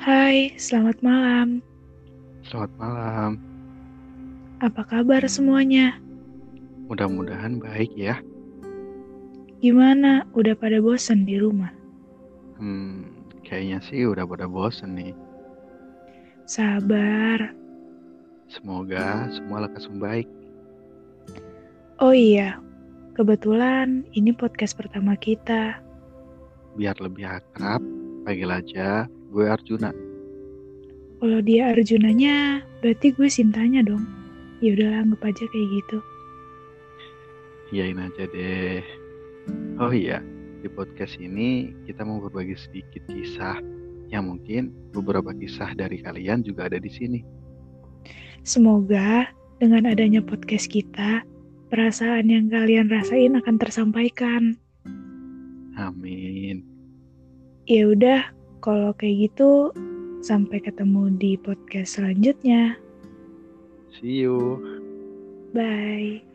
Hai, selamat malam. Selamat malam. Apa kabar semuanya? Mudah-mudahan baik ya. Gimana? Udah pada bosen di rumah? Hmm, kayaknya sih udah pada bosen nih. Sabar. Semoga semua lekas membaik. Oh iya, kebetulan ini podcast pertama kita. Biar lebih akrab, panggil aja gue Arjuna. Kalau dia Arjunanya, berarti gue Sintanya dong. Ya udahlah, anggap aja kayak gitu. Iyain aja deh. Oh iya, di podcast ini kita mau berbagi sedikit kisah yang mungkin beberapa kisah dari kalian juga ada di sini. Semoga dengan adanya podcast kita, perasaan yang kalian rasain akan tersampaikan. Amin. Ya udah, kalau kayak gitu sampai ketemu di podcast selanjutnya. See you. Bye.